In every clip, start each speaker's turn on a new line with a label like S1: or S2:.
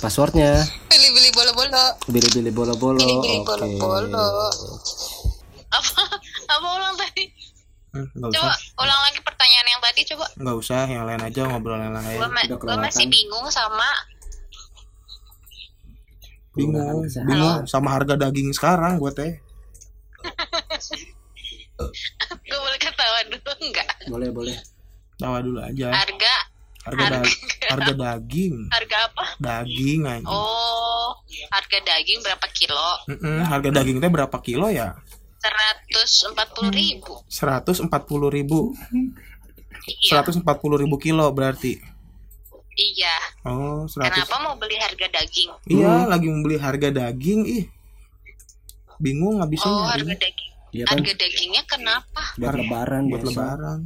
S1: Passwordnya
S2: Beli-beli bolo-bolo.
S1: Bili-bili bolo-bolo.
S2: Bili-bili
S1: Oke.
S2: bolo-bolo.
S3: apa apa ulang tadi
S4: Hmm, nggak
S3: coba
S4: usah
S3: ulang lagi pertanyaan yang tadi coba
S4: nggak usah yang lain aja ngobrol yang lain
S3: gua, ma-
S1: udah
S3: gua
S1: kelewatan.
S3: masih bingung sama
S4: bingung bingung sama harga daging sekarang gue teh
S3: gua boleh ketawa dulu enggak
S1: Boleh, boleh.
S4: tawa dulu aja
S3: harga
S4: harga da- harga daging
S3: harga apa
S4: daging aja
S3: oh harga daging berapa kilo
S4: Mm-mm, harga daging teh berapa kilo ya
S3: 140.000 ribu
S4: 140.000 ribu
S3: iya
S4: 140.000 ribu kilo berarti
S3: iya
S4: oh 100
S3: kenapa mau beli harga daging
S1: Hmm.
S4: iya lagi membeli harga daging ih bingung ngabisin
S3: oh harga daging
S1: Iya kan?
S3: harga dagingnya kenapa
S1: Buat lebaran
S4: buat
S1: biasa.
S4: lebaran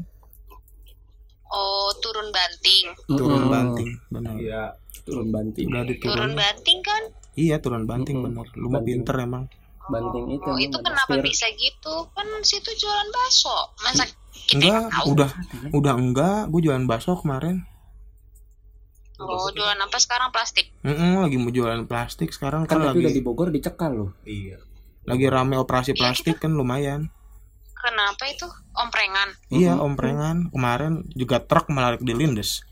S3: oh turun banting
S4: turun
S1: Mm-mm.
S4: banting benar
S1: Turun banting.
S4: udah
S3: turun
S4: diturun
S3: banting kan
S4: iya turun banting
S1: Mm-mm.
S4: benar lu mah
S1: Banting.
S4: pinter emang
S1: Banting itu.
S3: oh, itu
S1: ada
S3: kenapa
S1: setir.
S3: bisa gitu kan situ jualan bakso masa kita
S4: enggak
S3: yang tahu
S4: udah
S1: gitu ya.
S4: udah enggak gue jualan bakso kemarin
S3: oh jualan apa sekarang plastik
S4: Mm-mm, lagi mau jualan plastik sekarang
S1: Kan
S4: kan
S1: tapi udah di
S4: lagi
S1: Bogor dicekal loh.
S4: Iya. lagi rame operasi plastik kan lumayan
S3: kenapa itu omprengan
S4: iya omprengan kemarin juga truk menarik di lindes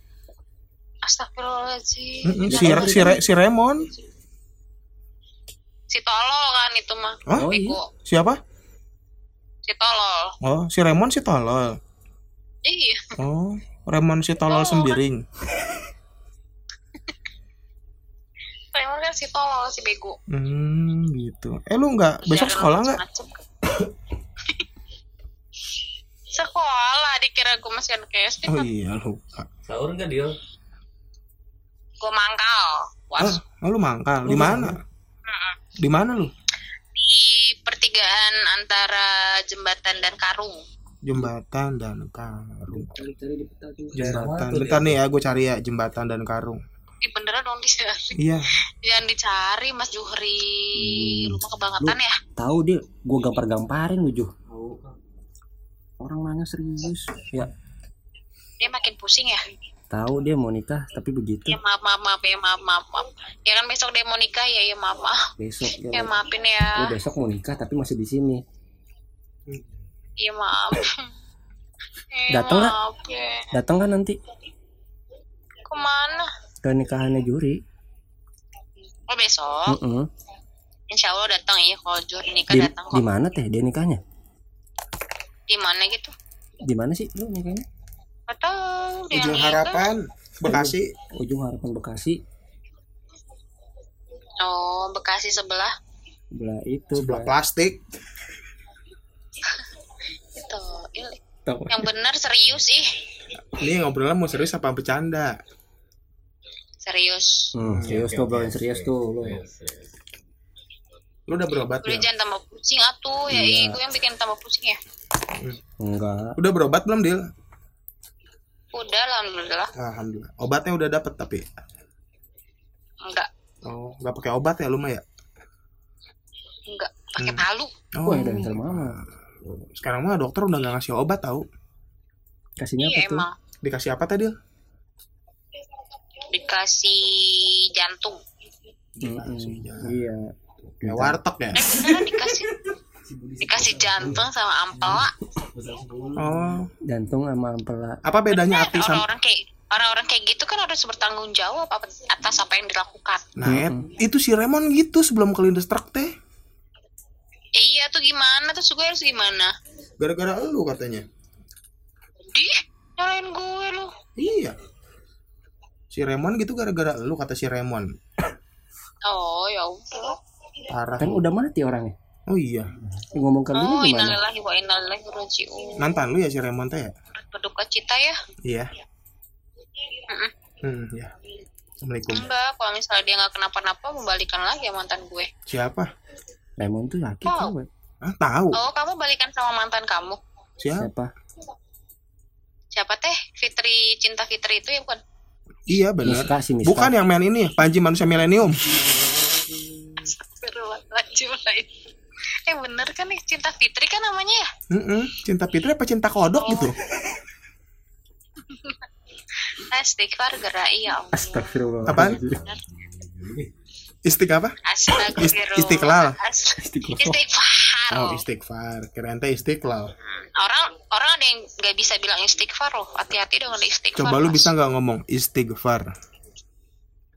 S3: Astagfirullahaladzim.
S4: Mm-mm, si, Re- si, Re- si Raymond
S3: Si tolol kan itu mah.
S4: Hah?
S1: Oh, iya.
S3: Bego.
S4: siapa
S3: Si tolol.
S4: oh si Raymond si tolol
S3: Iya.
S4: oh Raymond si tolol sembiring
S3: Preman kan si tolol, si bego.
S4: hmm gitu eh lu
S1: Iya,
S4: nggak besok
S3: Jangan
S4: sekolah nggak
S3: macem-macem. sekolah dikira gue masih anak SD
S4: oh iya lupa
S5: Sahur enggak dia?
S3: gue mangkal was
S4: ah lu mangkal di mana di mana lu
S3: di pertigaan antara jembatan dan karung
S4: jembatan dan karung
S1: Cari di peta tuh.
S4: jembatan bentar nih ya gue cari ya jembatan dan karung
S3: Ih, beneran dong dicari
S4: iya
S3: jangan dicari Mas Juhri
S4: Hmm.
S3: rumah kebangetan ya
S1: Tahu dia, gua gampar-gamparin lu, Juh. Orang mana serius? Ya,
S3: dia makin pusing ya
S1: tahu dia mau nikah tapi begitu
S3: ya maaf maaf maaf ya maaf maaf, maaf. ya kan besok dia mau nikah ya ya maaf maaf
S1: besok ya.
S3: ya maafin
S1: Lu
S3: ya
S1: besok mau nikah tapi masih di sini.
S3: Iya maaf. Eh,
S1: Dateng nggak?
S3: maaf ya.
S1: Datang kan nanti
S3: Kemana?
S1: ke nikahannya juri?
S3: Oh besok.
S1: Heeh.
S3: Insya Allah datang ya kalau Jur nikah
S1: Hmm. Di,
S3: datang
S1: di
S3: kok.
S1: mana teh dia nikahnya?
S3: Di mana gitu?
S1: Di mana sih lu nikahnya?
S3: Gak tahu. dia kan?
S4: ujung
S3: nikah.
S4: harapan
S3: iya.
S4: Bekasi
S1: Ujung Harapan Bekasi.
S3: Oh Bekasi sebelah.
S1: Belah itu
S4: sebelah plastik
S3: Itu. Ih,
S1: Tahu.
S3: Gitu. Yang benar serius ih.
S4: ini ngobrolnya mau serius apa bercanda
S3: Serius.
S1: Hmm, serius tuh, bro, serius tuh lu.
S4: lu udah berobat
S3: Udah
S1: Iya.
S4: belum
S3: jangan tambah pusing atuh ya. Ih, gue yang bikin tambah pusing ya.
S1: Enggak.
S4: udah berobat belum Dil
S3: Udah alhamdulillah.
S4: alhamdulillah obatnya udah dapet tapi
S3: Enggak.
S4: oh nggak pakai obat ya lu mah ya
S3: Enggak.
S1: Hmm.
S3: Pakai palu.
S4: Oh,
S1: Wah,
S4: iya,
S1: dari Intel Mama.
S4: sekarang mah dokter udah nggak ngasih obat tahu
S1: Kasihnya apa
S3: Iya
S1: tuh?
S3: emang.
S4: dikasih apa tadi
S3: Dikasih jantung.
S1: Mm-mm. Hmm, Iya.
S4: ya warteg ya
S3: Eh beneran dikasih. Dikasih jantung sama ampela.
S1: Iya.
S4: oh
S1: Jantung sama ampela.
S4: apa bedanya arti sama
S3: orang-orang kayak orang-orang kayak gitu kan harus bertanggung jawab apa- atas apa yang dilakukan.
S4: nah et- itu si Raymond gitu sebelum kelindes truk teh
S3: Iya tuh gimana terus gue harus gimana?
S4: gara-gara lu katanya
S3: Di nyalain gue lu.
S4: Iya. Si Raymond gitu gara-gara lu kata si Raymond.
S3: Oh ya udah.
S4: Parah.
S1: Kan udah mati orangnya.
S4: Oh iya.
S1: Ngomong ke lu
S3: Oh
S1: gimana?
S3: innalillahi wa innalillahi rajiun.
S4: Nantan lu ya si Raymond teh ya?
S3: Berduka cita ya.
S4: Iya.
S3: Mm-mm.
S4: Hmm, ya. Assalamualaikum.
S3: Enggak, kalau misalnya dia nggak kenapa-napa mau balikan lagi ya mantan gue.
S4: Siapa?
S1: Lemon tuh laki
S3: Oh.
S1: cewek.
S4: Ah, tahu.
S3: Oh, kamu balikan sama mantan kamu.
S4: Siapa?
S1: Siapa?
S3: Siapa teh? Fitri Cinta Fitri itu ya bukan?
S4: Iya benar.
S1: Miska si Miska.
S4: Bukan yang main ini, Panji manusia milenium.
S3: Astagfirullahaladzim. Eh bener kan nih Cinta Fitri kan namanya ya?
S4: Mm-mm. Cinta Fitri apa cinta kodok gitu?
S3: Istighfar gerai ya Allah.
S1: Astagfirullah.
S4: Apaan? Istik apa?
S3: Astagfirullah.
S4: Istiqlal.
S3: Ast-
S1: Istiqlal.
S3: Istighfar.
S4: Oh, istighfar. Keren teh istiqlal.
S3: orang orang ada yang nggak bisa bilang istighfar loh. Hati-hati dengan istighfar.
S4: Coba lu
S3: Mas.
S4: bisa nggak ngomong istighfar?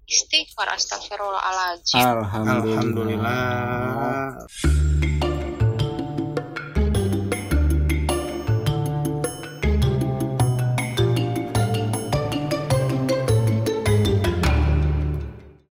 S3: Istighfar astagfirullahaladzim.
S1: Alhamdulillah.
S4: Alhamdulillah.